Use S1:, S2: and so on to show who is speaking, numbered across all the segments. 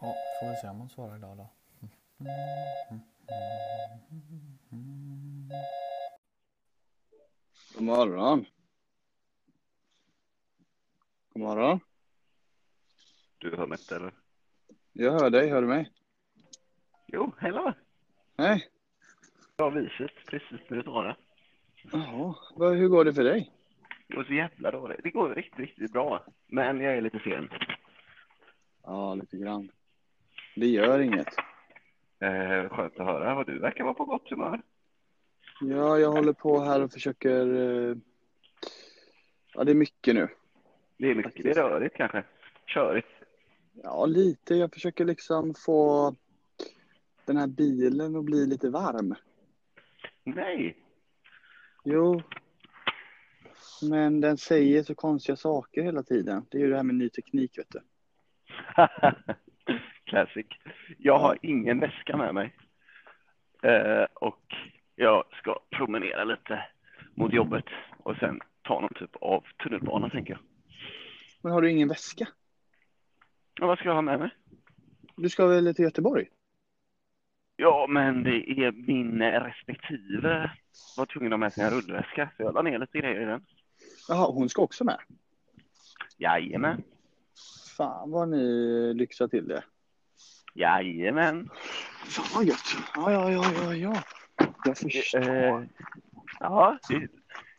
S1: Ja, får vi se om hon svarar idag då.
S2: God morgon. God morgon.
S3: Du hör mig inte eller?
S2: Jag hör dig, hör du mig?
S3: Jo, hallå!
S2: Nej.
S3: Bra viset, precis när du sa det.
S2: Jaha, vad- hur går det för dig?
S3: Det går så jävla dåligt. Det går riktigt, riktigt bra. Men jag är lite sen.
S2: Ja, lite grann. Det gör inget.
S3: Eh, skönt att höra vad du verkar vara på gott humör.
S2: Ja, jag håller på här och försöker... eh, Ja, det är mycket nu.
S3: Det är mycket, det är rörigt kanske. Körigt.
S2: Ja, lite. Jag försöker liksom få den här bilen att bli lite varm.
S3: Nej!
S2: Jo. Men den säger så konstiga saker hela tiden. Det är ju det här med ny teknik, vet du.
S3: Classic. Jag har ingen väska med mig. Eh, och jag ska promenera lite mot jobbet och sen ta någon typ av tunnelbana tänker jag.
S2: Men har du ingen väska?
S3: Ja, vad ska jag ha med mig?
S2: Du ska väl till Göteborg?
S3: Ja, men det är min respektive var tvungen att ha med sig en rullväska, så jag la ner lite grejer i den.
S2: Jaha, hon ska också med?
S3: Jajamän,
S2: Fan vad ni lyxar till det.
S3: jajamän.
S2: Fan vad gött. Ja, ja, ja, ja, ja. Jag förstår.
S3: Eh, ja, det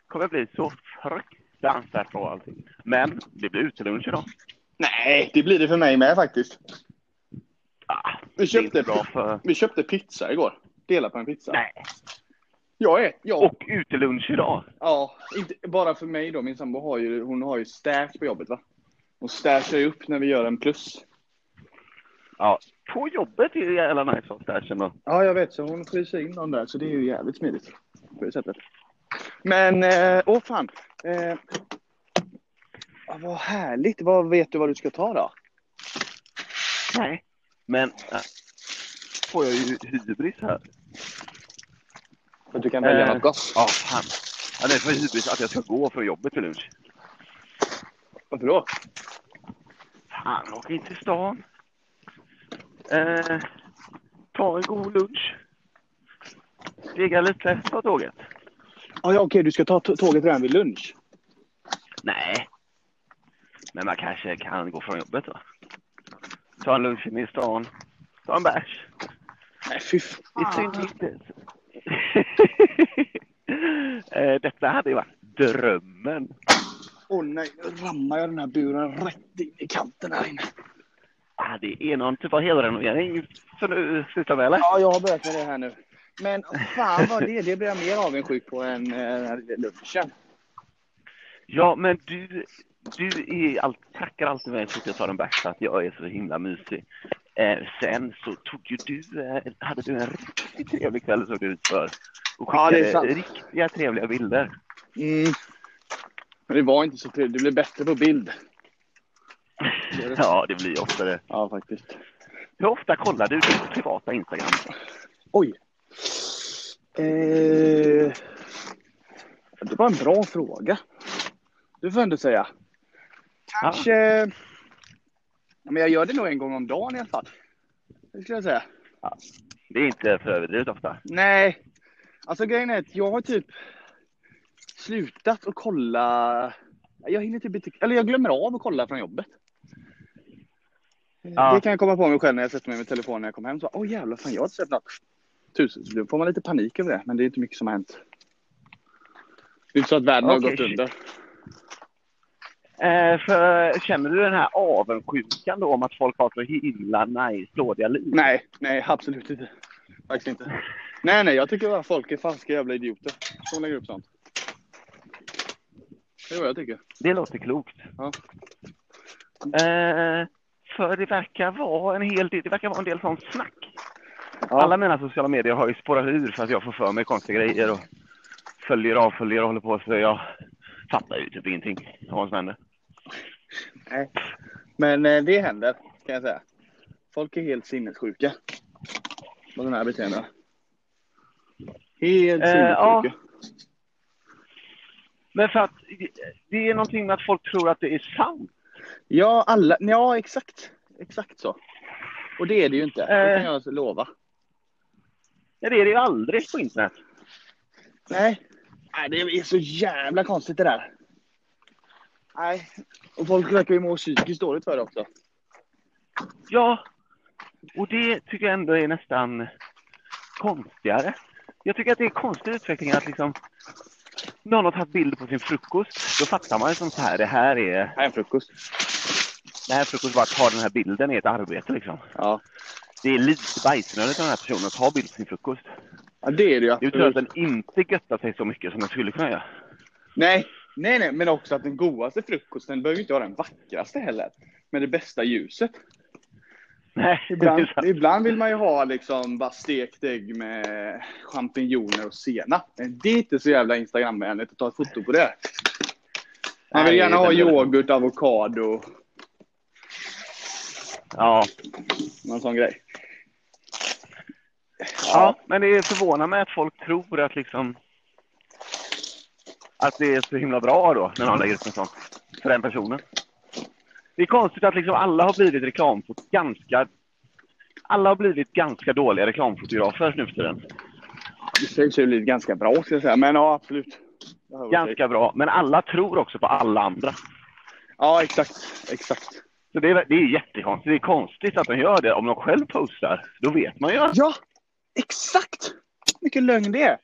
S3: kommer bli så fruktansvärt bra allting. Men det blir utelunch idag.
S2: Nej, det blir det för mig med faktiskt.
S3: Ah,
S2: Vi
S3: det är inte
S2: köpte,
S3: bra för...
S2: vi köpte pizza igår. Dela på en pizza.
S3: Nej,
S2: Jag är, jag,
S3: och utelunch idag.
S2: ja, inte, bara för mig då. Min sambo har ju, hon har ju staff på jobbet va? Hon staffar ju upp när vi gör en plus.
S3: Ja, på jobbet är det jävla nice att stashen då.
S2: Ja, jag vet. Så hon fryser in dem där, så det är ju jävligt smidigt. På det sättet. Men, eh, åh fan. Eh, ja, vad härligt. Vad vet du vad du ska ta då?
S3: Nej, men äh, får jag ju hybris här.
S2: För att du kan
S3: Eh,
S2: välja något gott.
S3: Ja, fan. Ja, det är för hybris att jag ska gå från jobbet till lunch.
S2: Varför då?
S3: Fan, åk in till stan. Eh, ta en god lunch. Ligga lite, ta tåget.
S2: Ah, ja, okej, du ska ta t- tåget redan vid lunch.
S3: Nej. Men man kanske kan gå från jobbet då. Ta en lunch inne i stan. Ta en bärs.
S2: Nej, fy fan.
S3: Det är synd inte. Eh, Detta hade ju varit drömmen.
S2: Åh nej, nu rammar jag den här buren rätt in i kanten här inne.
S3: Ah, det är någon typ av helrenovering som du sysslar med eller?
S2: Ja, jag har börjat med det här nu. Men fan vad det Det blir jag mer avundsjuk på än eh, den här lilla lunchen.
S3: Ja, men du, du är allt, tackar alltid mig för att jag tar en bärs för att jag är så himla mysig. Eh, sen så tog ju du, eh, hade du en riktigt trevlig kväll såg det ut för. Och
S2: Ja, det är
S3: skickade
S2: sant.
S3: riktiga trevliga bilder.
S2: Mm. Men det var inte så trevligt. Det blev bättre på bild. det.
S3: ja, det blir ofta det.
S2: Ja, faktiskt.
S3: Hur ofta kollar du din privata Instagram?
S2: Oj. Eh, det var en bra fråga. Det får jag ändå säga. Kanske... Ja, Men jag gör det nog en gång om dagen i alla fall. Det skulle jag säga.
S3: Det är inte för överdrivet ofta.
S2: Nej. Alltså grejen är att jag har typ slutat att kolla. Jag hinner typ inte, eller jag glömmer av att kolla från jobbet.
S3: Ja.
S2: Det kan jag komma på mig själv när jag sätter mig med telefonen när jag kommer hem. Så, bara, Åh jävlar, fan jag har inte sett något. Tusen, så då får man lite panik över det. Men det är inte mycket som har hänt. Det är inte så att världen har
S3: Okej,
S2: gått
S3: shit.
S2: under.
S3: Eh, för, känner du den här avundsjukan då om att folk har så himla nice, dåliga liv?
S2: Nej, nej absolut inte. Faktiskt inte. Nej, nej, jag tycker bara folk är falska jävla idioter. Som lägger upp sånt. Det är vad jag tycker.
S3: Det låter klokt.
S2: Ja.
S3: Eh, för det verkar vara en hel del, det verkar vara en del sånt snack. Alla mina sociala medier har ju spårat ur för att jag får för mig konstiga grejer och följer av, följer och håller på så jag fattar ju typ ingenting av vad som händer.
S2: Nej. Men eh, det händer, kan jag säga. Folk är helt sinnessjuka. På den här beteendena. Helt
S3: Eh, ja.
S2: sinnessjuka.
S3: Men för att det- det är någonting med att folk tror att det är sant.
S2: ja, alla. Ja, exakt. Exakt så. Och det är det ju inte. Det kan
S3: Eh.
S2: jag alltså lova.
S3: Ja, det är det ju aldrig på internet.
S2: Nej. Nej, det är så jävla konstigt det där. Nej. Och folk verkar ju må psykiskt dåligt för det också.
S3: Ja, och det tycker jag ändå är nästan konstigare. Jag tycker att det är konstig utveckling att liksom någon har tagit bilder på sin frukost. Då fattar man ju som så här, det här är,
S2: Nej, en frukost.
S3: det här frukost, bara ta den här bilden är ett arbete liksom.
S2: Ja.
S3: Det är lite bajsnödigt av den här personen att ta bild på sin frukost.
S2: ja, det är det ju
S3: Det är ju tur att
S2: absolut.
S3: den inte göttar sig så mycket som den skulle kunna göra.
S2: Nej. nej, nej, men också att den godaste frukosten behöver ju inte vara den vackraste heller. Med det bästa ljuset.
S3: Nej,
S2: Ibland,
S3: det är sant.
S2: ibland vill man ju ha liksom bara stekt ägg med champinjoner och senap. Men det är inte så jävla Instagramvänligt att ta ett foto på det. Man vill
S3: Nej,
S2: gärna ha
S3: den är-
S2: yoghurt, avokado,
S3: Ja.
S2: någon sån grej.
S3: Ja, men det förvånar mig att folk tror att liksom att det är så himla bra då när någon lägger upp en sån för den personen. Det är konstigt att liksom alla har blivit reklamfot ganska alla har blivit ganska dåliga reklamfotografer nu för tiden.
S2: Det sägs ju lite ganska bra ska jag säga, men ja absolut. Jag hör vad du säger.
S3: Ganska bra, men alla tror också på alla andra.
S2: Ja exakt, exakt.
S3: Så det är, det är jättekonstigt. Det är konstigt att de gör det. Om de själv postar, då vet man ju. att-
S2: Ja, exakt! Vilken lögn det är.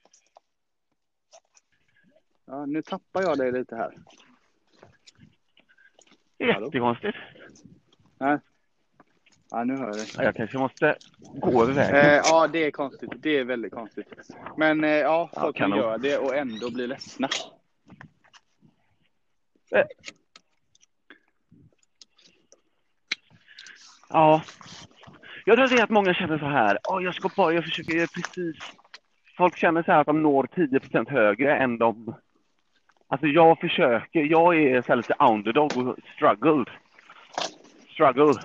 S2: Ja, nu tappar jag dig lite här.
S3: Det är jättekonstigt.
S2: Ja, nu hör jag dig.
S3: Ja, Jag kanske måste gå över vägen.
S2: Eh, ja, det är konstigt. Det är väldigt konstigt. Men eh, ja,
S3: Ja,
S2: folk kan
S3: kanon.
S2: göra det och ändå bli ledsna.
S3: Ja. Jag tror att det är att många känner så här. Oh, jag ska bara, jag försöker jag är precis. Folk känner så här att de når 10 högre än de. Alltså jag försöker. Jag är så här lite underdog och struggled. Struggle.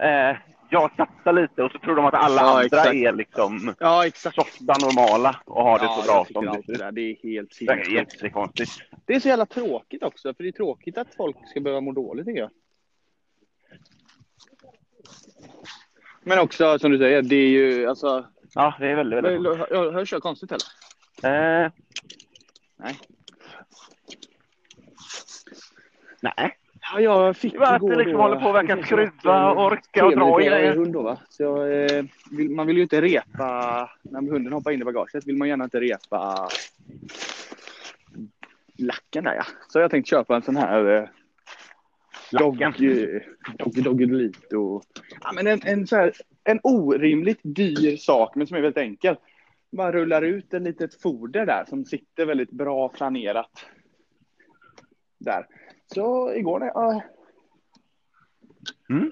S3: Eh, jag satsar lite och så tror de att alla
S2: Ja,
S3: andra
S2: exakt.
S3: är liksom
S2: Ja, exakt.
S3: softa normala och har det så bra
S2: jag tycker
S3: som det
S2: allt det.
S3: ser ut.
S2: Där. Det är helt
S3: Det är
S2: sinnessjukt.
S3: jättekonstigt.
S2: Det är så jävla tråkigt också, för det är tråkigt att folk ska behöva må dåligt tycker jag. Men också som du säger, det är ju alltså...
S3: Ja, det är väldigt, väldigt
S2: Hör, hör, hörs jag konstigt eller?
S3: Eh,
S2: Nej.
S3: Nej.
S2: Ja, jag fick
S3: Det var att det liksom håller på att verka skruva och orka och dra i
S2: grejer. Jag är
S3: grejer.
S2: hund då, va? Så jag, eh, vill, man vill ju inte repa... När hunden hoppar in i bagaget vill man gärna inte repa lacken där ja. Så jag tänkte köpa en sån här eh,
S3: Lacken.
S2: Doggy dog, Doggelito. Ja, men en, en, så här, en orimligt dyr sak, men som är väldigt enkel. Man rullar ut en litet foder där som sitter väldigt bra planerat. Där. Så igår när jag...
S3: Mm.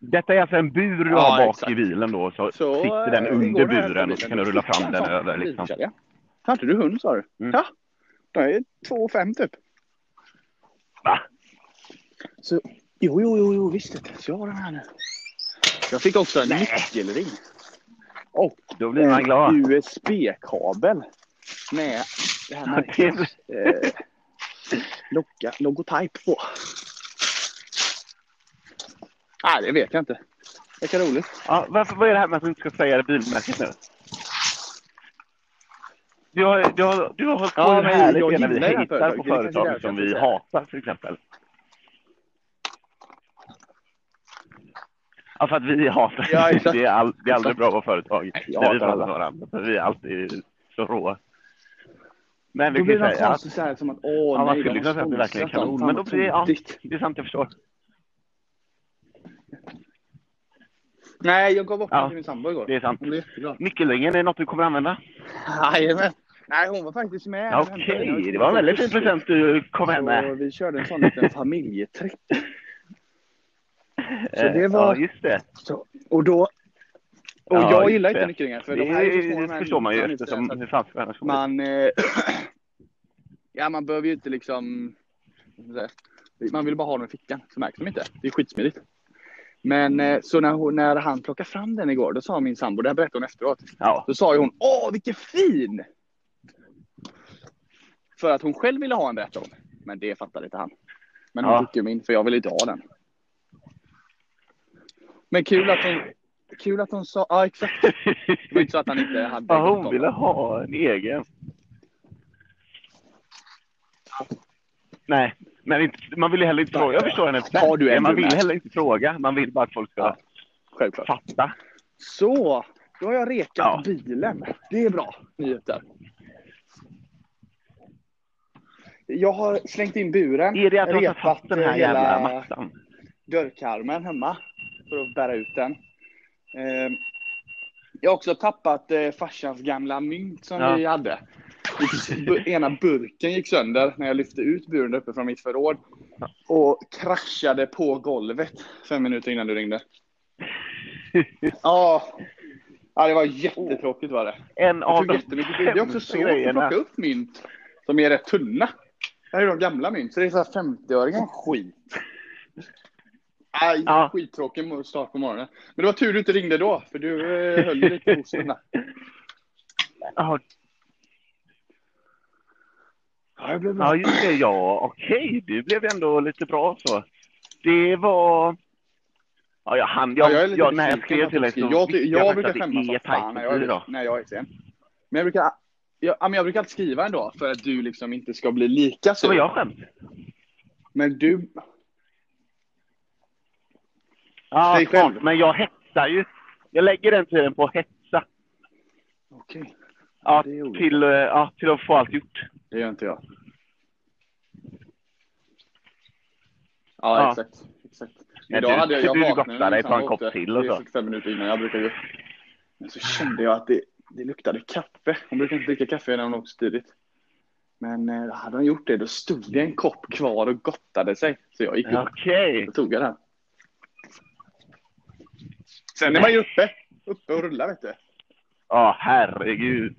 S3: Detta är alltså en bur du
S2: Ja,
S3: har bak
S2: exakt.
S3: i bilen då, så,
S2: Så,
S3: sitter den
S2: eh,
S3: under
S2: igår när jag
S3: buren och
S2: hade
S3: så kan du rulla fram den
S2: bilen,
S3: över. Liksom.
S2: bilkälja. Hade du hund sa du?
S3: Mm.
S2: Ja. Den är 2,5 typ.
S3: Va?
S2: Så, jo, jo, jo, jo visst. vet du. Så jag har den här nu. Jag fick också en nyckelring. Och
S3: Då blir man glad.
S2: en USB-kabel. Med det här märket,
S3: Det är-
S2: eh, logga, logotyp på. Nej, det vet jag inte. Verkar roligt.
S3: Ja, varför, vad är det här med att du inte ska säga det bilmärket nu? Du har, du har, du har hållit på
S2: Ja,
S3: ja,
S2: men
S3: härligt
S2: jag gillar
S3: när vi
S2: det här
S3: hatar på
S2: företaget. Det är kanske
S3: företag
S2: därför
S3: som
S2: jag
S3: vi
S2: inte
S3: hatar till exempel. Ja, för att vi hatar.
S2: Ja, exakt.
S3: det, är all, det är aldrig bra att vara företag.
S2: jag
S3: när vi
S2: hatar alla.
S3: pratar med varandra. För vi är alltid så råa. Men vi
S2: Då
S3: kan ju
S2: blir det
S3: säga att
S2: konstigt så här som att åh
S3: Ja, man
S2: nej,
S3: skulle
S2: de
S3: kunna
S2: har
S3: säga att det verkligen är
S2: sponsrat dem.
S3: kanon.
S2: Fan,
S3: Men då blir det, ja,
S2: vad tokigt.
S3: det är sant, jag förstår.
S2: Nej, jag gav bort
S3: Ja,
S2: den till min sambo igår.
S3: Det är sant.
S2: Hon blev jätteglad.
S3: Nyckelringen är något du kommer använda?
S2: Jajamän. Nej, hon var faktiskt med.
S3: Ja,
S2: och hämtade
S3: Okej,
S2: den.
S3: det var en väldigt eh, fin present du kom
S2: Så
S3: hem med.
S2: vi körde en sån liten familjetripp. så
S3: Eh,
S2: det var-
S3: Ja, just det.
S2: Så, och då... Och
S3: Ja,
S2: jag
S3: just
S2: gillar inte
S3: det.
S2: nyckelringar. För
S3: Det,
S2: de här är ju så små, de här
S3: förstår man ju
S2: nycklarna,
S3: eftersom
S2: så att
S3: hur fan ska annars komma
S2: Man... Eh, ja, man behöver ju inte liksom... vad ska jag säga, Man vill bara ha dem i fickan, så märks de inte. Det är skitsmidigt. Men
S3: Mm.
S2: eh, så när, hon, när han plockade fram den igår, då sa min sambo, det här berättade hon efteråt,
S3: Ja,
S2: Då sa ju hon Åh, vilken fin! För att hon själv ville ha en berättade hon. Men det fattade inte han. Men hon
S3: Ja.
S2: fick ju min, för jag ville inte ha den. Men kul att hon, kul att hon sa, ja exakt. Det var inte så att han inte hade
S3: Ja, hon
S2: något
S3: ville
S2: om
S3: ha en egen. Nej, men inte, man vill ju heller inte
S2: Nej.
S3: fråga. Jag förstår henne.
S2: Ja, du är
S3: man
S2: du
S3: vill
S2: med.
S3: heller inte fråga. Man vill bara att folk ska
S2: Ja. det, Självklart.
S3: fatta.
S2: Så, då har jag rekat
S3: Ja.
S2: bilen. Det är bra nyheter. Jag har slängt in buren.
S3: Är det att du har
S2: repat
S3: tagit fast den här
S2: hela
S3: jävla mattan?
S2: dörrkarmen hemma för att bära ut den. Eh, Jag har också tappat eh, farsans gamla mynt som
S3: Ja.
S2: vi hade. Bu- Ena burken gick sönder när jag lyfte ut buren där uppe från mitt förråd och kraschade på golvet fem minuter innan du ringde. Ja, ja det var jättetråkigt var det.
S3: En
S2: Jag
S3: av
S2: tog
S3: de
S2: jättemycket bilder. Det är också
S3: sämsta
S2: svårt att
S3: grejerna.
S2: plocka upp mynt som är rätt tunna. Det här är de gamla mynt, så det är så här 50-öringar. Skit. Aj,
S3: Ja.
S2: skittråkig mo- start på morgonen. Men det var tur du inte ringde då, för du eh, höll ju lite osen där.
S3: Ja,
S2: Ja, jag blev
S3: Ja, just det. Ja, okej. Du blev ändå lite bra så. Det var... Ja, jag hann... Jag,
S2: Ja,
S3: jag, jag, när jag
S2: besviken
S3: skrev
S2: på
S3: till dig så
S2: Toski. Jag,
S3: visste
S2: ty- jag
S3: faktiskt
S2: brukar
S3: att det
S2: skämmas
S3: är
S2: som fan när
S3: tajt tid
S2: jag,
S3: då.
S2: när jag är sen. Men jag brukar, jag, ja, men jag brukar alltid skriva ändå, för att du liksom inte ska bli lika
S3: Så
S2: sur.
S3: var jag skämt.
S2: Men du...
S3: Ja,
S2: Säg själv.
S3: smart. Men jag hetsar ju. Jag lägger den tiden på att hetsa.
S2: Okej,
S3: Ja,
S2: det är olika.
S3: till, eh, ja, till att få allt gjort.
S2: det gör inte jag. Ja,
S3: Ja.
S2: exakt. exakt.
S3: Men
S2: Idag
S3: du-
S2: hade jag, jag
S3: du
S2: vaknade
S3: gottar dig,
S2: liksom
S3: ta en kopp
S2: åt det.
S3: till och
S2: Det är
S3: så.
S2: 45 minuter innan jag brukar gå upp. Men så kände jag att det, det luktade kaffe. Hon brukar inte dricka kaffe när hon åker så tidigt. Men eh, hade hon gjort det, då stod det en kopp kvar och gottade sig. Så jag gick upp
S3: Okej.
S2: Då tog jag den. Sen är man ju uppe. Uppe och rullar vet du.
S3: Ja, herregud.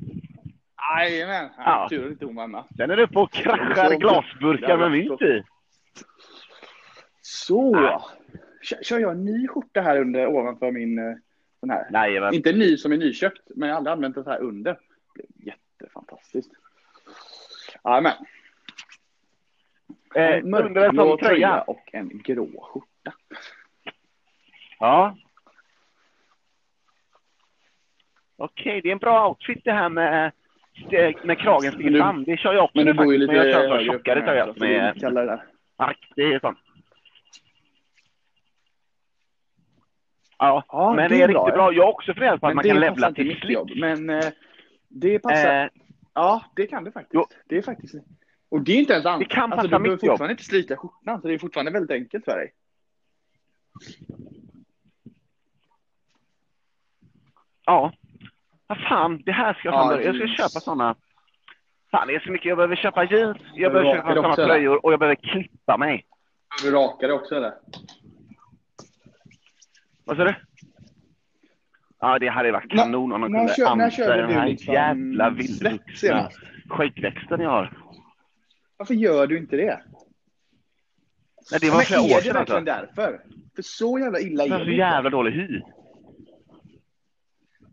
S2: Jajamän.
S3: Ja.
S2: Ja. Tur att inte hon var hemma.
S3: Sen är du uppe och
S2: Jag
S3: kraschar
S2: såg-
S3: glasburkar med mynt i.
S2: Så.
S3: Ja.
S2: Kör, kör jag en ny skjorta här under ovanför min eh, sån här.
S3: Nej, men
S2: Inte ny som är nyköpt, men jag har aldrig använt den så här under. Det är jättefantastiskt. Jajamän.
S3: eh,
S2: En
S3: under en sån tröja.
S2: och en grå skjorta.
S3: Ja. Okej, det är en bra outfit det här med, eh, med kragen
S2: Men du-
S3: still fram. Det kör jag också
S2: Men du
S3: faktiskt,
S2: bor ju lite eh,
S3: men jag kör en sån
S2: högre upp
S3: eh, tjockare
S2: än här,
S3: tröja
S2: så det är
S3: med
S2: kallare där.
S3: ark. Det är sånt. Ja,
S2: Ja,
S3: men
S2: det
S3: det
S2: är
S3: är
S2: bra,
S3: riktigt
S2: ja.
S3: bra. Jag har också funderat på att
S2: Men
S3: man
S2: det
S3: kan
S2: passar
S3: levla
S2: inte
S3: till
S2: mitt
S3: slick.
S2: jobb, Men eh, det passar.
S3: Eh,
S2: Ja, det kan det faktiskt.
S3: Jo.
S2: Det är faktiskt. Och det är inte ens
S3: Det
S2: annat.
S3: kan
S2: Alltså,
S3: passa
S2: du behöver
S3: mitt jobb.
S2: fortfarande inte slita skjortan, så det är fortfarande väldigt enkelt för dig.
S3: ja. Vad fan, det här ska jag
S2: Ja,
S3: fan börja. Jag ska
S2: jeans.
S3: köpa såna. Fan, det är så mycket. Jag behöver köpa jeans,
S2: Behöver
S3: jag behöver
S2: raka
S3: köpa
S2: det
S3: såna
S2: också, eller?
S3: tröjor och jag behöver klippa mig.
S2: Du rakar det också eller?
S3: Vad sa du? Ja, det hade varit kanon om de
S2: när
S3: kunde
S2: kö- när körde
S3: använda den
S2: du
S3: här
S2: liksom
S3: jävla
S2: svett
S3: vildvuxna
S2: senast?
S3: skitväxten jag har.
S2: Varför gör du inte det?
S3: Nej, det var
S2: Men
S3: flera år
S2: är det
S3: sedan alltså.
S2: verkligen därför? För så jävla illa
S3: Det
S2: är
S3: var så
S2: det inte.
S3: jävla dålig hy.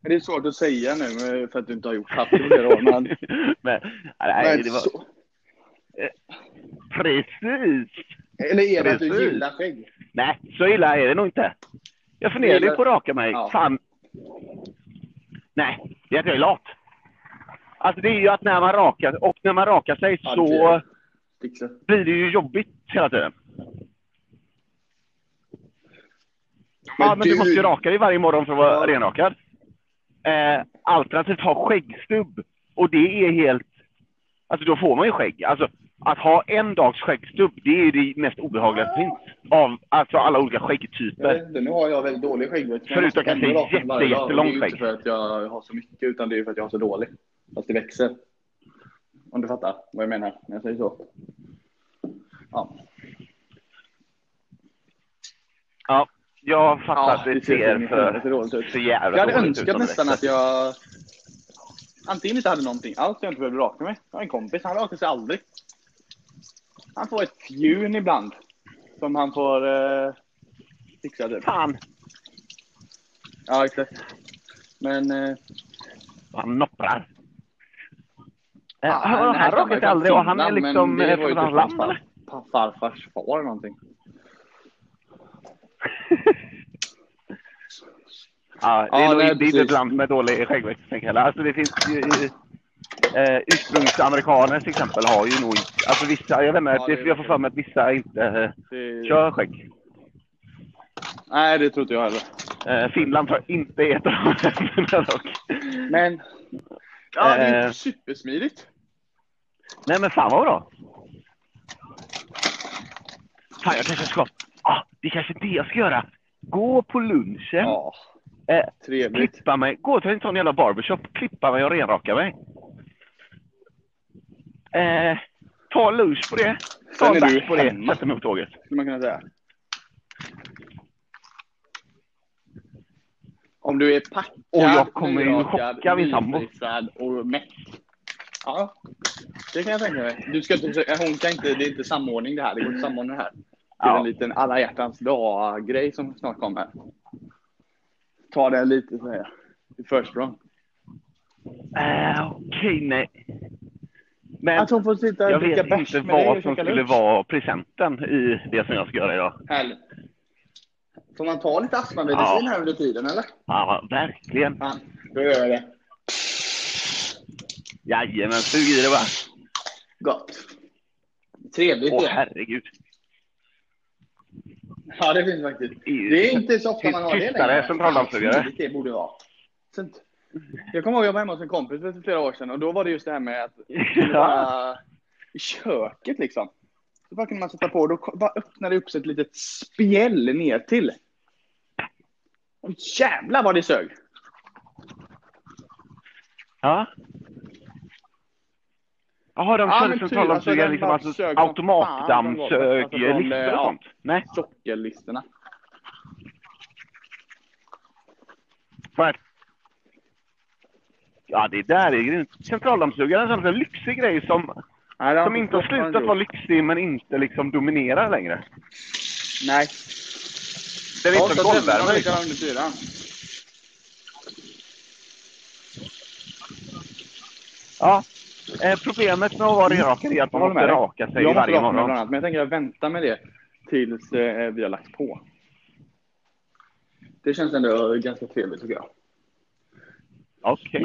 S2: Men Det är svårt att säga nu eh, för att du inte har gjort haft det på flera år. Men,
S3: Men, nej,
S2: men
S3: det var
S2: så,
S3: precis.
S2: eller är det att du
S3: Precis.
S2: gillar skägg?
S3: Nej, så illa är det nog inte. Jag funderade ju på att raka mig.
S2: Ja.
S3: Fan. Nej, det är att jag är lat. Alltså det är ju att när man rakar, och när man rakar sig
S2: Ja, det
S3: så
S2: blir det. Fixa.
S3: blir det ju jobbigt hela tiden.
S2: Men
S3: ja, men du...
S2: du-
S3: måste ju raka dig varje morgon för att vara
S2: Ja.
S3: renrakad. Eh, alternativt ha skäggstubb. Och det är helt... Alltså då får man ju skägg. Alltså att ha en dags skäggstubb, det är ju det mest obehagliga som finns. Av alltså, alla olika
S2: Jag
S3: skäggtyper.
S2: vet inte, nu har jag väldigt dålig skäggväxt. men
S3: Förutom
S2: jag måste
S3: kanske
S2: ändå raka mig varje dag.
S3: jättelång
S2: Det är ju inte
S3: skägg.
S2: för att jag har så mycket, utan det är ju för att jag har så dålig. Fast det växer. Om du fattar vad jag menar när jag säger så. Ja,
S3: Ja, jag fattar
S2: Ja,
S3: att det
S2: det ser
S3: ser
S2: så
S3: för,
S2: mycket dåligt ut.
S3: så jävla
S2: Jag hade
S3: dåligt ut
S2: önskat
S3: om det
S2: nästan
S3: växer.
S2: att jag antingen inte hade någonting alls jag inte behövde raka mig. Jag har en kompis, han rakar sig aldrig. Han får ett fjun ibland. Som han får eh, fixa typ.
S3: Fan!
S2: Ja, exakt. Men eh,
S3: Han nopprar. Eh,
S2: Ja,
S3: han han,
S2: nej,
S3: han rakar
S2: var
S3: sig
S2: från
S3: aldrig och han är
S2: Finland, men
S3: liksom
S2: det
S3: eh,
S2: var ju
S3: från
S2: typ
S3: hans lamm
S2: hans
S3: eller?
S2: far- farfars far eller någonting.
S3: Ja, det är,
S2: Ja, nej,
S3: nog, det är inte
S2: precis.
S3: ett land med dålig skäggväxling heller. Alltså det finns ju... Eh, ursprungsamerikaner till exempel har ju nog inte... Alltså vissa, jag vet inte,
S2: Ja, det är
S3: det- jag får för mig att vissa inte eh,
S2: Det...
S3: kör skägg.
S2: Nej, det tror inte jag heller.
S3: Eh, Finland tror jag inte är ett av de länderna dock.
S2: Men... Ja, det är
S3: Eh.
S2: ju supersmidigt.
S3: Nej men fan vad bra. Fan jag kanske ska... Ah, det är kanske är det jag ska göra. Gå på lunchen.
S2: Ja,
S3: Eh,
S2: trevligt.
S3: klippa mig. Gå till en sån jävla barbershop. Klippa mig och renraka mig. Eh, ta en lunch på det. Ta
S2: Sen
S3: en
S2: är du
S3: back på det.
S2: hemma.
S3: Sätter mig på tåget.
S2: Skulle man kunna säga. Om du är packad,
S3: Och jag kommer ju
S2: nyrakad,
S3: chocka min sambo.
S2: nyfrissad och mätt. Ja, det kan jag tänka mig. Du ska inte försöka, hon kan inte, det är inte samordning det här. Det går inte att samordna det här. Det är
S3: Ja.
S2: en liten alla hjärtans dag-grej som snart kommer. Ta det lite så här, i försprång.
S3: Eh, Okej, nej. Men
S2: Att hon får sitta
S3: jag
S2: och dricka
S3: vet
S2: bärs
S3: inte
S2: med dig och
S3: vad som
S2: käka
S3: skulle
S2: lunch.
S3: vara presenten i det som jag ska göra idag.
S2: Härligt. Får man ta lite astmamedicin
S3: Ja.
S2: här under tiden eller?
S3: Ja, verkligen.
S2: Fan, då gör jag det.
S3: Jajamän, sug i det bara.
S2: Gott. Trevligt
S3: Åh,
S2: det.
S3: herregud.
S2: Ja, det finns faktiskt.
S3: EU.
S2: Det är inte så ofta man har det
S3: Tystare centraldammsugare.
S2: Fan, Det borde vara. Sånt. Jag kommer ihåg jag var hemma hos en kompis för flera år sedan och då var det just det här med att
S3: Ja.
S2: bara, i köket liksom. Så bara kunde man sätta på och då ko- bara öppnade det upp sig ett litet spjäll ner till. Och jävlar vad det sög!
S3: Ja. Jaha, de
S2: Ja,
S3: körde
S2: men typ,
S3: centraldammsugaren
S2: alltså,
S3: liksom,
S2: den
S3: alltså,
S2: sög som fan,
S3: automatdammsög,
S2: den var- alltså, de,
S3: listor och
S2: ja.
S3: sånt? Nej,
S2: Sockerlistorna.
S3: fan. Ja, det där är grymt. Centraldammsugaren är en sån här lyxig grej som,
S2: Nej, det
S3: som inte har slutat vara lyxig men inte liksom dominerar längre.
S2: Nej.
S3: Den är inte som golvvärme. liksom.
S2: under fyran.
S3: Ja. Eh, problemet med att vara rakare är att man
S2: Jag håller
S3: måste
S2: med dig.
S3: raka sig
S2: Jag måste
S3: varje
S2: raka mig bland
S3: morgon.
S2: annat, men jag tänker jag väntar med det tills eh, vi har lagt på. Det känns ändå ganska trevligt tycker jag.
S3: Okej.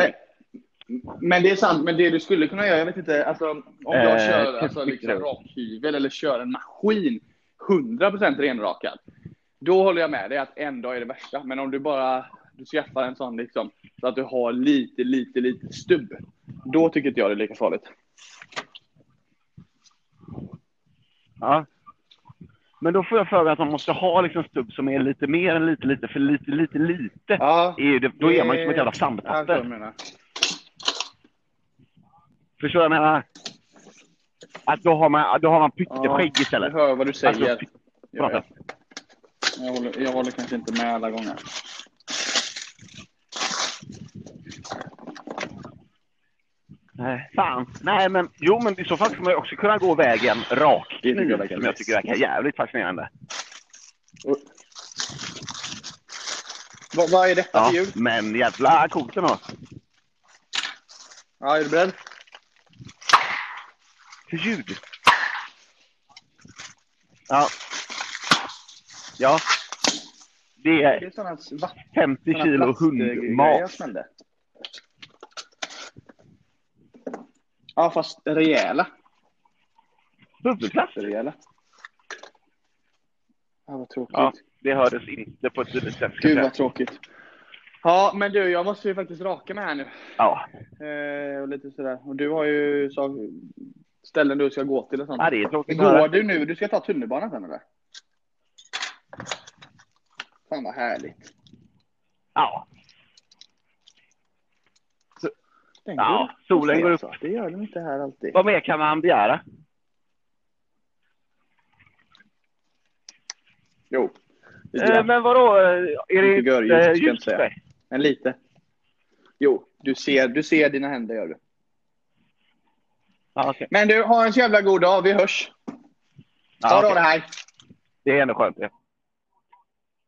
S2: Men, men det är sant, men det du skulle kunna göra, jag vet inte, alltså, om jag
S3: Eh,
S2: kör alltså, liksom,
S3: klippgrej.
S2: rakhyvel eller kör en maskin 100% renrakad, då håller jag med dig att en dag är det värsta. Men om du bara du skaffar en sån liksom, så att du har lite, lite, lite stubb, då tycker inte jag det är lika farligt.
S3: Ja. Men då får jag för mig att man måste ha liksom stubb som är lite mer än lite, lite, för lite, lite, lite.
S2: Ja,
S3: Är det, då är man ju som ett
S2: Eh,
S3: jävla sandpapper.
S2: menar.
S3: Förstår du vad jag menar? Att då har man, då har man pytteskägg istället.
S2: Jag hör vad du säger.
S3: Alltså,
S2: jag,
S3: Prata.
S2: jag, jag, håller, jag håller kanske inte med alla gånger.
S3: Nej, fan. Nej, men jo, men i så fall ska man ju också kunna gå vägen rakt
S2: Det tycker jag
S3: nu,
S2: verkar
S3: som jag
S2: nice.
S3: tycker verkar jävligt fascinerande.
S2: Och- Vad, vad är detta
S3: Ja,
S2: för ljud?
S3: men jävla coolt det var.
S2: Ja, är du beredd?
S3: För ljud. Ja. Ja. Det
S2: Det
S3: är
S2: är sådana vatten... eh,
S3: 50 kilo hundmat.
S2: Ja, fast rejäla.
S3: Huvudklass.
S2: Rejäla. Ja, vad tråkigt.
S3: Ja, det hördes inte på ett tydligt sätt. kan
S2: Gud
S3: jag
S2: vad
S3: säga.
S2: tråkigt. Ja, men du, jag måste ju faktiskt raka mig här nu.
S3: Ja,
S2: Eh, och lite sådär. Och du har ju så, ställen du ska gå till och sånt.
S3: Ja, det är tråkigt. att
S2: Går
S3: höra.
S2: du nu? Du ska ta tunnelbanan sen eller? Fan vad härligt.
S3: Ja,
S2: Den
S3: Ja,
S2: går upp
S3: solen
S2: och ser,
S3: går upp.
S2: alltså. Det gör den inte här alltid.
S3: vad mer kan man begära?
S2: Jo, lite
S3: Eh,
S2: grann.
S3: men vadå? eh, Är det
S2: Inte
S3: inte
S2: görljus, ska jag
S3: eh,
S2: inte
S3: ljust?
S2: säga.
S3: Nej.
S2: men lite. Jo, du ser, du ser dina händer gör du.
S3: Ja, okej.
S2: Men du, ha en så jävla god dag. Vi hörs.
S3: Ja,
S2: Ta då
S3: okej.
S2: det här.
S3: Det är ändå skönt. Ja.